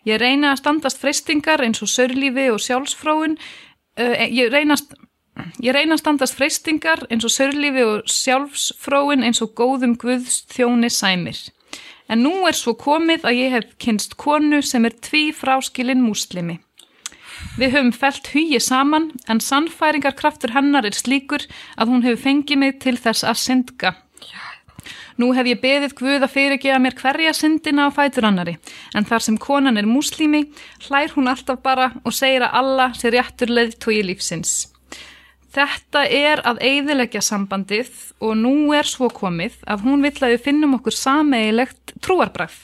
S4: ég reyna að standast freystingar eins og sörlífi og sjálfsfróun uh, ég reyna að st- Ég reyna að standast freystingar eins og sörlífi og sjálfsfróin eins og góðum guðs þjóni sæmir. En nú er svo komið að ég hef kynst konu sem er tví fráskilin múslimi. Við höfum felt hugi saman en sannfæringarkraftur hennar er slíkur að hún hefur fengið mig til þess að syndga. Nú hef ég beðið Guð að fyrirgefa mér hverja syndina á fætur annari, en þar sem konan er múslimi, hlær hún alltaf bara og segir að alla sé réttur leiðtói lífsins. Þetta er að eyðileggja sambandið og nú er svo komið að hún vill að við finnum okkur sameigilegt trúarbræð.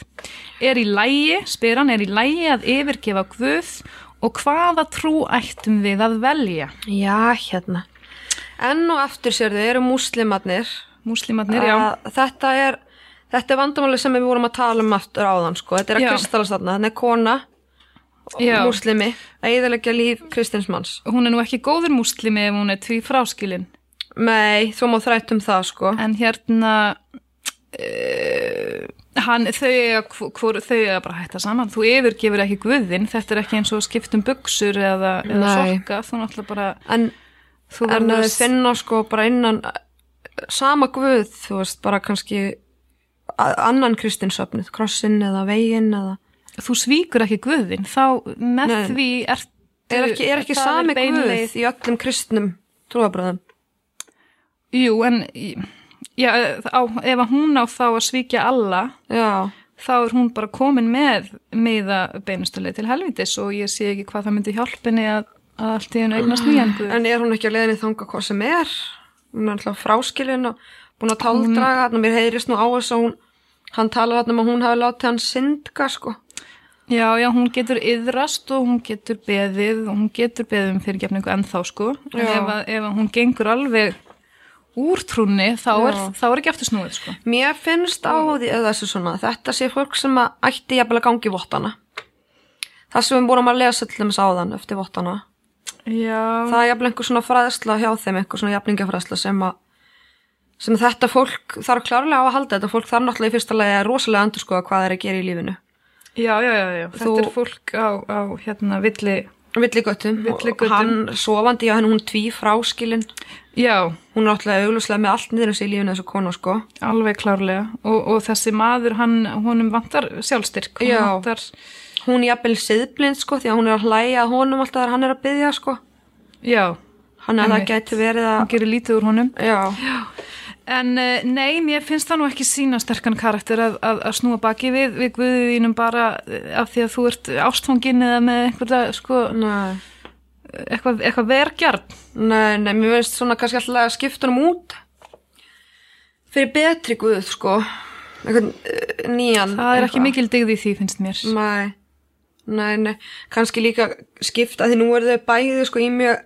S4: Er í lægi, spyr hann, er í lægi að yfirgefa Guð og hvaða trú ættum við að velja?
S3: Já, hérna. Enn og aftur sérðu eru múslimarnir.
S4: Múslimarnir, já.
S3: Að Þetta er, þetta er vandamáli sem við vorum að tala um aftur áðan, sko. Þetta er að
S4: Já.
S3: kristallast þarna. Þannig er kona,
S4: Já.
S3: múslimi, að eðalegja líf kristinsmanns.
S4: Hún er nú ekki góður múslimi ef hún er tví fráskilin.
S3: Nei, þú má þrætt um það, sko.
S4: En hérna, uh, hann, þau, eiga hvo- hvor, þau er bara að hætta saman. Þú yfirgefur ekki Guðin, þetta er ekki eins og að skipta um buksur eða, eða
S3: Nei.
S4: sokka, þú náttúrulega bara...
S3: En,
S4: Þú
S3: en að
S4: verður
S3: þið finna, sko, bara innan eh, sama guð, þú veist, bara kannski a- annan kristinsöfnið, krossin eða veginn eða...
S4: þú svíkur ekki guðin þá með
S3: Nei.
S4: því ert
S3: Er ekki, er ekki
S4: það
S3: sami
S4: bein
S3: guð
S4: leið.
S3: í öllum kristnum trúabröðum?
S4: jú en já, á, ef að hún á þá að svíkja alla
S3: Já.
S4: þá er hún bara komin með meða beinustuleið til helvitis og ég sé ekki hvað það myndi hjálpinni að, að allt í hennu eignast nýjan guð
S3: En er hún ekki að leiðinni þanga hvað sem er? Hún er alltaf fráskilin og búin að táldraga, þannig að mér heyrist nú á þess að hún, hann talar þarna um að hún hafi látið hann syndga, sko.
S4: já já hún getur yðrast og hún getur beðið og hún getur beðið um fyrirgefningu ennþá sko en
S3: Já.
S4: ef að, ef að hún gengur alveg úr trúnni þá er,
S3: Já.
S4: þá er ekki aftur snúið sko
S3: Mér finnst á því, eða þessu svona, þetta sé fólk sem að ætti jafnvel að gangi vottana. Það sem við vorum að lesa til þess áðan eftir vottana.
S4: já
S3: Það er jafnvel einhver svona fræðsla hjá þeim, einhver svona jafningjafræðsla sem að sem þetta fólk þarf klárlega á að halda þetta fólk þarf náttúrulega í fyrsta lagi að rosalega endur skoða hvað það er að gera í lífinu.
S4: Já, já, já, já.
S3: Þú-
S4: þetta er fólk á, á hérna villi,
S3: Villigötum,
S4: Villigötum.
S3: hann sofandi, já hann hún tví fráskilin
S4: já,
S3: hún er alltaf auglúslega með allt niður um sig í lífinu þessu konu sko
S4: alveg klárlega og, og þessi maður, hann, honum vantar sjálfstyrk, honum
S3: Já.
S4: vantar,
S3: hún er jafnvel siðblind sko því að hún er að hlæja að honum alltaf þegar hann er að byggja sko
S4: já,
S3: hann er að það
S4: Einmitt.
S3: gæti verið
S4: hann
S3: að
S4: gerir lítið úr honum.
S3: já,
S4: En eh, nei, mér finnst það nú ekki sína sterkan karakter að, að, að snúa baki við, við guðið þínum bara eh, af því að þú ert ástfangin eða með einhverja, sko,
S3: nei
S4: eitthvað, eitthvað vergjarn.
S3: nei, nei, mér finnst svona kannski alltaf að skipta hann út fyrir betri guð sko einhvern eh, nýjan
S4: Það er ekki
S3: eitthvað.
S4: mikil digð í því, finnst mér.
S3: Nei, nei, nei, kannski líka skipta því nú eru þau bæði sko í mjög,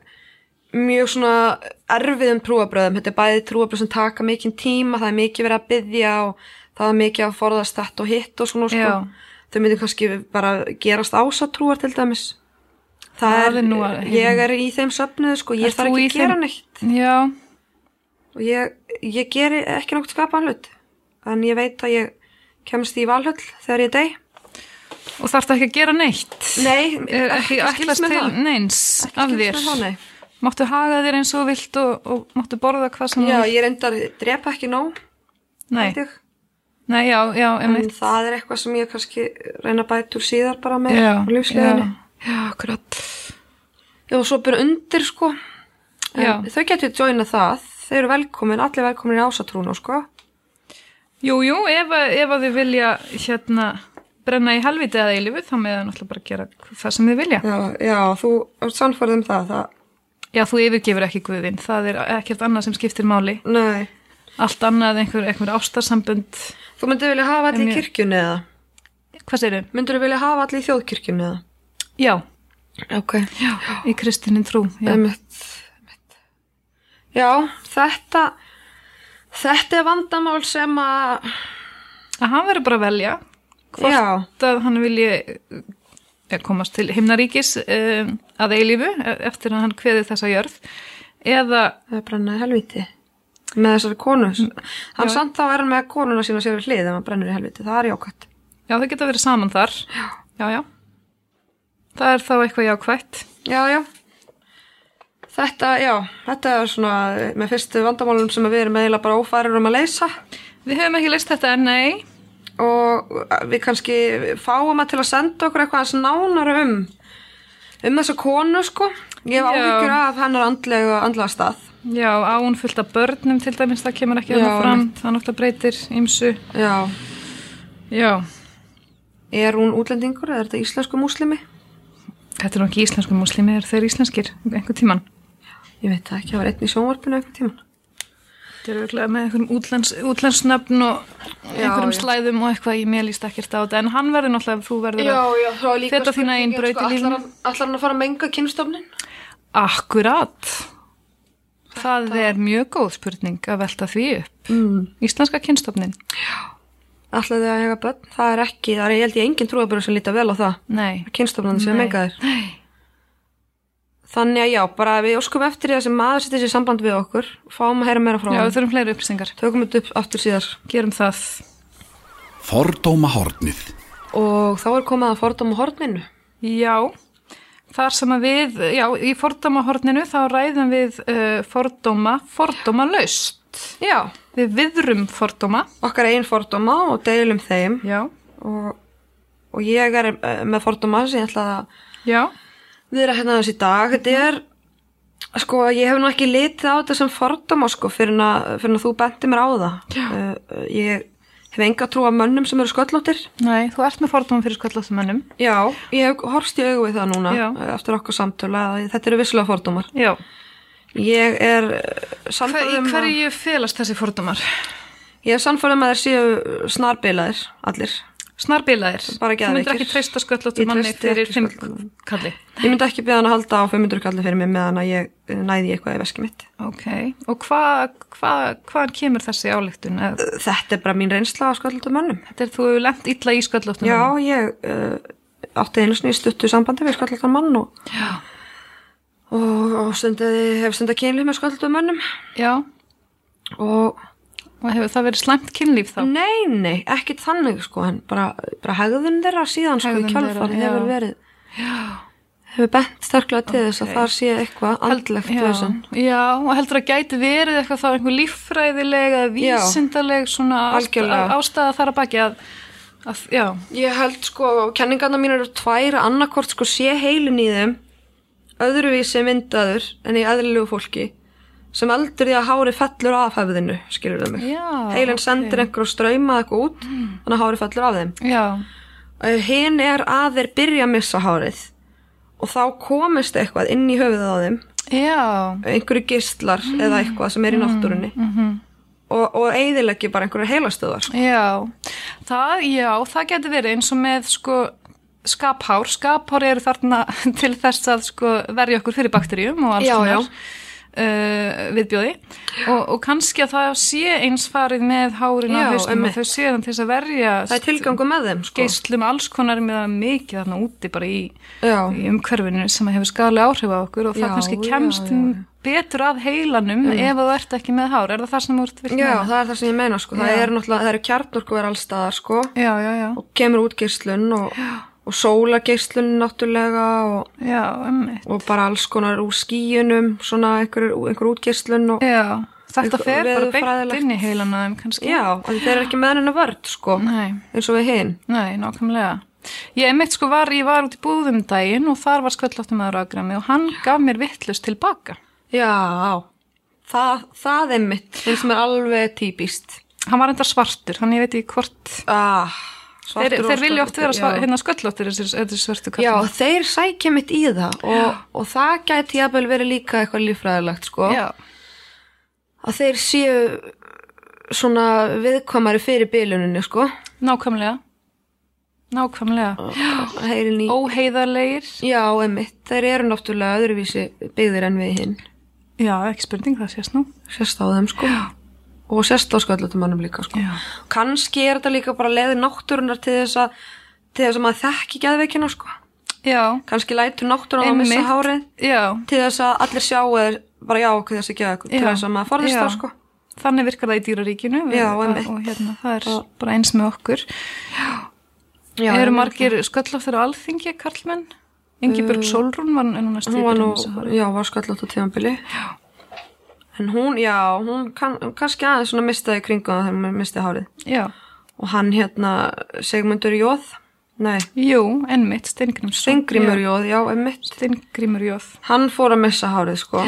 S3: mjög svona erfiðum trúabröðum, þetta er bæði trúabröð sem taka mikinn tíma, það er mikið verið að byggja og það er mikið að forðast þetta og hitt og svona sko,
S4: Já.
S3: þau myndir kannski bara gerast ásatrúar til dæmis. Það,
S4: Það
S3: er,
S4: er nú að-
S3: ég er í þeim söfnuðu sko, ég
S4: Ert
S3: þarf
S4: þú
S3: ekki
S4: í
S3: að gera
S4: þeim-
S3: neitt
S4: Já,
S3: og ég, ég geri ekki nokkuð skapaðan hlut, en ég veit að ég kemst í valhull þegar ég dey.
S4: og þarf ekki að gera neitt.
S3: Nei,
S4: Er ekki ætlast til neins af þér.
S3: Þannig.
S4: Máttu haga þér eins og þú vilt og, og máttu borða hvað sem þú
S3: Já,
S4: vilt.
S3: ég reyndar drepa ekki nóg,
S4: Mm. Nei,
S3: veit ég.
S4: nei, já, já,
S3: En
S4: einmitt.
S3: það er eitthvað sem ég kannski reyna að bæta úr síðar bara með
S4: Já,
S3: á lífsleginni.
S4: já.
S3: já, akkurat. Já, og svo byrja undir, sko. En
S4: Já.
S3: Þau getur joina það. Þau eru velkomin, allir velkomin í ásatrúna, sko.
S4: Jú, jú, ef, að- ef að þið vilja hérna brenna í helviti eða í lífu þá með það náttúrulega bara gera það sem þið vilja.
S3: Já, já þú ert sannfærð um það. það
S4: Já, þú yfirgefur ekki guðin, það er ekkert annað sem skiptir máli.
S3: Nei.
S4: Allt annað einhver, einhver ástarsambönd,
S3: Þú myndir vilja hafa allir í
S4: mjög-
S3: kirkjunni eða?
S4: hvað segirðu?
S3: Myndir þú vilja hafa allir í þjóðkirkjunni eða?
S4: Já,
S3: Ok.
S4: já, í kristinin trú. Já.
S3: Einmitt, einmitt. Já, þetta, þetta er vandamál sem að,
S4: Að hann verður bara að velja hvort
S3: Já.
S4: að hann vilji eh, komast til himnaríkis um, að eilífu e- eftir að hann kveði þessa jörð eða
S3: það er brenna í helviti. Með þessari konu. Hann
S4: Já.
S3: samt þá er hann með konuna sína sér við hlið ef hann brennur í helviti. Það er jákvæmt.
S4: já þau geta verið saman þar já. já, það er þá eitthvað jákvætt
S3: Já, já. Þetta, já, þetta er svona eh, með fyrstu vandamálum sem við erum eiginlega bara ófærir um að leysa
S4: við höfum ekki leist þetta en nei
S3: og við kannski fáum að til að senda okkur eitthvað hans nánar um um þessa konu, sko. Ég hef
S4: Já.
S3: áhyggjur af hennar andlega, andlega stað.
S4: já, án fullt af börnum til dæmis það kemur ekki
S3: Já,
S4: þarna fram, það náttúrulega breytir ymsu,
S3: Já.
S4: já
S3: Er hún útlendingur eða er þetta íslensku múslimi?
S4: þetta er nú ekki íslensku múslimi, er þeir íslenskir einhver tíman
S3: Ég veit það ekki, það var einn í sjónvarpinu einhvern tímann.
S4: Þetta er auðvitað með einhverjum útlens, útlensnöfn og einhverjum
S3: já.
S4: slæðum og eitthvað ég mér líst ekkert á þetta en hann verður náttúrulega, þú verður að
S3: já, það var
S4: líka Feta þína eigin spurningin, braut í sko, lífinu. ætlar hann-
S3: Allar hann að fara að menga kynstofnin?
S4: akkurat það er mjög góð spurning að velta því upp mm. Íslenska kynstofnin?
S3: Allar þau að hega börn? Það er ekki, það er ég held ég engin trúabröð sem líta vel á það.
S4: Nei
S3: kynstofnandi sem
S4: Nei.
S3: mengaðir.
S4: Nei.
S3: Þannig að já, bara við óskum eftir því að sem maður setja sér samband við okkur, fáum að heyra meira frá
S4: Já, við
S3: hann.
S4: þurfum fleiri upplýsingar
S3: Tökum þetta upp aftur síðar.
S4: Gerum það
S2: Fordóma hornið.
S3: Og þá er komið að fordóma horninu.
S4: Já, þar sem að við, já, í fordómahorninu þá ræðum við uh, fordóma, fordóma
S3: Já,
S4: Við viðrum fordóma
S3: okkar einn fordóma og deilum þeim.
S4: Já,
S3: Og, og ég er eh, með fordóma sem ég ætla að
S4: já
S3: viðra hérna þessi dag. Þetta er, sko, ég hef nú ekki litið á þetta sem fordóma, sko, fyrir að, fyrir að þú benti mér á það. Já. ég hef enga trú af mönnum sem eru sköllóttir.
S4: Nei, þú ert með fordóma fyrir sköllóttumönnum.
S3: Já, ég hef horfst í augu við það núna
S4: Já.
S3: eh, eftir okkar samtölu að þetta eru visslega fordómar.
S4: Já.
S3: Ég er eh,
S4: Hver,
S3: sannfærð
S4: í
S3: um að,
S4: hverju félast þessi fordómar?
S3: ég er sannfærð um að þeir séu snarbilaðir allir.
S4: Snarbilaðir.
S3: Bara
S4: Þú myndir
S3: geðveikir.
S4: ekki treysta
S3: Ég
S4: sköllóttumanni
S3: treysti
S4: fyrir
S3: ekki
S4: fimm
S3: sköllóttum.
S4: kalli.
S3: Ég myndi ekki beða hann að halda á 500 kallir fyrir mig meðan að ég eh, næði í eitthvað í veski mitt.
S4: Ok. Og hvað hva, hvaðan kemur þessi ályktun? Eða-
S3: Eh, Þetta er bara mín reynsla á sköldlutum mönnum.
S4: Þetta er þú hefur lent illa
S3: Já,
S4: í sköllóttumönnum.
S3: ég uh, átti einu sinni í stuttu sambandi við sköldlutum mann og,
S4: Já.
S3: og, og stundaði, hef stundað kynlið með sköldlutum mönnum
S4: Já.
S3: og
S4: Og hefur það verið slæmt kynlíf þá?
S3: Nei, nei, ekkit þannig sko en bara, bara hegðun þeirra síðan sko
S4: Hegðun
S3: í kjálfarið
S4: þeirra,
S3: hefur
S4: já.
S3: verið já. hefur bent sterklega til þess að
S4: Ok.
S3: það sé eitthvað andlegt
S4: Já.
S3: þessan
S4: Já, og heldur að gæti verið eitthvað þá einhver líffræðileg eða
S3: Já.
S4: vísindaleg svona ást-
S3: Algjörlega.
S4: á- ástæða þar að baki að, að já,
S3: Ég held sko, kenningarna mín eru tvær að annarkvort sko sé heilin í þeim öðruvísi myndaður en í eðlilegu fólki sem eldur því að hári fellur af hefðinu skilur þau mig.
S4: Já,
S3: heilin
S4: ok. Mm.
S3: sendir einhver og ströyma eitthvað út þannig að hári fellur af þeim.
S4: já,
S3: Hinn er að þeir byrja að missa hárið og þá komist eitthvað inn í höfuðið á þeim,
S4: já,
S3: einhverju gistlar
S4: Mm.
S3: eða eitthvað sem er í náttúrunni
S4: Mhm.
S3: og, og eigðilegi bara einhverju heilastöðar. sko.
S4: Já, það, já, það getur verið eins og með sko skaphár, skaphár eru þarna til þess að sko verja okkur fyrir bakteríum og alls
S3: Já, já.
S4: konar uh, viðbjóði og, og kannski að það sé eins farið með hárin
S3: Já,
S4: á haustum
S3: einmitt.
S4: og þau séðan til þess að verja
S3: Það er tilgangu með þeim, sko.
S4: geislum alls konar með það mikið þarna úti bara í,
S3: Já,
S4: í umhverfinu sem hefur skali áhrif á okkur og það
S3: Já,
S4: kannski
S3: já,
S4: kemst
S3: já.
S4: betur að heilanum ef þú ert ekki með hár, er það það sem þú ert vilt
S3: já,
S4: með?
S3: það er það sem ég meina, sko. Það
S4: Já.
S3: eru náttúrulega, það eru kjarnorku er allstaðar, sko,
S4: Já, já, já,
S3: og kemur út geislun og, og sólageislun náttúrulega og,
S4: já, emmitt.
S3: og bara alls konar úr skíunum, svona einhver, einhver útgeislun og...
S4: Já, þetta
S3: Eitthvað
S4: fer bara beint
S3: veðurfræðilegt.
S4: inn í heilan að þeim kannski.
S3: Já, af því þeir eru ekki með henni vörd, sko,
S4: Nei,
S3: eins og við hinn.
S4: nei, nákvæmlega. Ég einmitt sko var, ég var út í búðum daginn og þar var skvöllóttum aðra aðgrami og hann gaf mér vittlust tilbaka.
S3: Já, það, það er mitt, finnst mér alveg típist.
S4: Hann var enda svartur, hann ég veit ekki hvort
S3: Ah,
S4: Þeir,
S3: Svartur og
S4: þeir vilja oft
S3: sköllóttur,
S4: vera sva,
S3: já.
S4: hérna sköllóttir þessir, þessir svörtu
S3: Já,
S4: kallar.
S3: þeir sækja mitt í það og, og það gæti jafnvel verið líka eitthvað líffræðilegt sko.
S4: Já,
S3: Að þeir séu svona viðkvæmari fyrir byluninu sko.
S4: nákvæmlega. Nákvæmlega.
S3: Heyrin í...
S4: Óheiðarlegir.
S3: Já, einmitt. Þeir eru náttúrulega öðruvísi byggðir en við hinn.
S4: Já, ekki spurning, það sést nú.
S3: Sérst á þeim sko. Og sérst á skallutumannum líka sko.
S4: Já.
S3: Kanski er þetta líka bara leiði náttúrunar til þess að til þess að maður þekki geðveikina sko.
S4: Já,
S3: Kanski lætur náttúrunar að missa
S4: Einmitt.
S3: hárið
S4: já,
S3: til þess að allir sjá eða bara já okkur þessi geðveik til
S4: Já.
S3: þess að maður forðist
S4: Já.
S3: það sko.
S4: þannig virkar það í dýraríkinu við-
S3: Já,
S4: að-
S3: einmitt.
S4: og hérna, það er bara eins með okkur
S3: Já,
S4: eru
S3: einmitt.
S4: margir sköllóttir á alþingi, Karlmenn? Ingibjörg Solrún var en hún næst
S3: Uh, Hún var nú,
S4: já,
S3: já, var skallat á tímanbili. Já. En hún, já, hún kann, kannski aðeins svona mistaði kringum það þegar maður misti hárið.
S4: já,
S3: Og hann hérna, Sigmundur Jóð, nei,
S4: jú, ennmitt Steingrímsson
S3: Steingrímur
S4: Já,
S3: Jóð, já, einmitt.
S4: Steingrímur Jóð
S3: Hann fór að missa hárið, sko.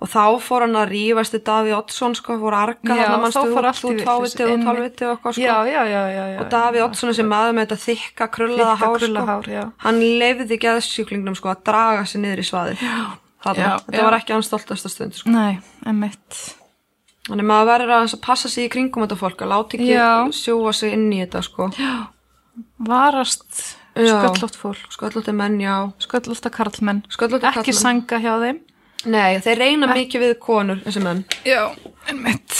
S3: Og þá fór hann að rífast við Davíð Oddsson, sko, fór að arga
S4: Já,
S3: þarna,
S4: þá
S3: mannstu,
S4: fór
S3: þú,
S4: allt í
S3: þú
S4: vitleysu,
S3: távitið og
S4: einmitt.
S3: tálvitið og eitthvað, sko.
S4: já, já, já, já, já.
S3: Og Davíð Oddsson sem maður með þetta þykka, krullaða
S4: Þykka,
S3: hár,
S4: krulla
S3: sko.
S4: hár, já.
S3: Hann leifði geðsjúklingnum, sko, að draga sér niður í svaðið. Þarna.
S4: Já,
S3: Þetta
S4: já.
S3: var ekki hans stoltasta stund, sko.
S4: nei, ennmitt
S3: Þannig maður verður aðeins að passa sig í kringum þetta fólk að láta ekki
S4: Já.
S3: sjúa sig inn í þetta sko.
S4: varast
S3: Já.
S4: sköllótt fólk
S3: Sköllótti Sko, menn, já.
S4: sköllótta Karlmenn
S3: Sköllótta
S4: ekki
S3: karlmenn.
S4: sanga hjá þeim
S3: Nei, þeir reyna mikið við konur, þessi menn.
S4: já, ennmitt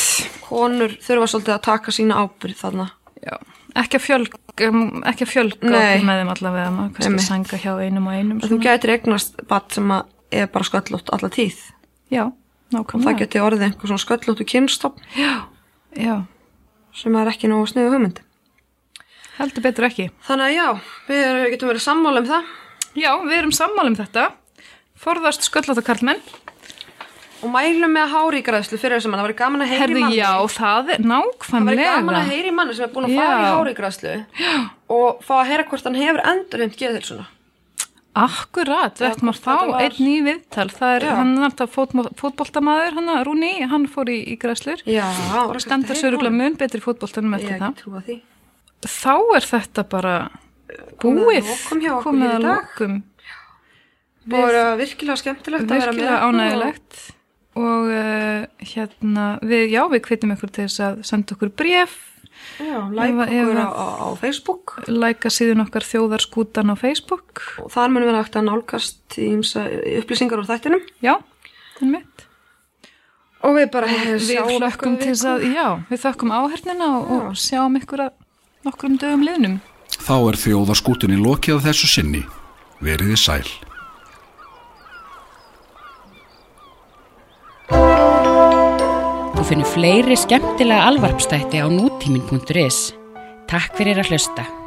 S3: Konur þurfa svolítið að taka sína ábyrð þarna.
S4: Já, ekki að fjölga, um, ekki að fjölga
S3: Nei.
S4: okkur með þeim allavega, maður kannski
S3: Einmitt.
S4: sanga hjá einum og einum. sko.
S3: Þú
S4: Svona.
S3: gætir eignast bat sem að er bara sköllótt alla tíð.
S4: Já,
S3: Og það
S4: nákvæmlega.
S3: geti orðið einhver svona sköllóttu kynstofn
S4: Já,
S3: sem er ekki nógu sniðu hugmynd.
S4: heldur betur ekki.
S3: Þannig að já, við getum verið sammála um það.
S4: Já, við erum sammála um þetta. Forðast sköllóta karlmenn.
S3: Og mælum með hárígræðslu fyrir þessum mann. Það var gaman að heyri
S4: Herði,
S3: manni.
S4: já, það er
S3: Það væri
S4: nákvæmlega.
S3: gaman að heyri manni sem er búin að fara
S4: Já.
S3: í hárigræslu og fá að heyra hvort hann hefur endurheimt geðhilsuna.
S4: Akkurat, þetta maður
S3: hvort
S4: þá
S3: þetta var-
S4: einn ný viðtal. Það er,
S3: Já.
S4: hann er alltaf fótmo- fótboltamaður, hann að Rúni, hann fór í, í græslur.
S3: Já,
S4: Stendur söruglega mun betri fótboltanum eftir
S3: Ég
S4: það.
S3: ekki trúa því.
S4: þá er þetta bara
S3: Komið að
S4: búið,
S3: lokum hjá okkur
S4: komið
S3: í
S4: að
S3: dag.
S4: lokum
S3: Það voru virkilega skemmtilegt að vera með.
S4: virkilega
S3: ykkur
S4: ánægilegt og uh, hérna við, já við hvetjum ykkur til þess að senda okkur bréf
S3: og- Já, like
S4: Ef að- ef
S3: okkur á,
S4: að-
S3: á, á Facebook
S4: læka síðan okkar þjóðarskútan á Facebook
S3: og þar munum við hægt að nálgast ímsa upplýsingar úr þættinum
S4: já, þannig mitt
S3: og við bara
S4: Eh,
S3: hérna,
S4: við hlökkum til þess að, já, við þökkum áhernina og, og sjáum ykkur að nokkrum dögum liðnum
S2: Þá er þjóðaskútunni lokið að þessu sinni. Veriði sæl.
S1: Þú finnur fleiri skemmtilega alvarpstætti á nútímin.is. Takk fyrir að hlusta.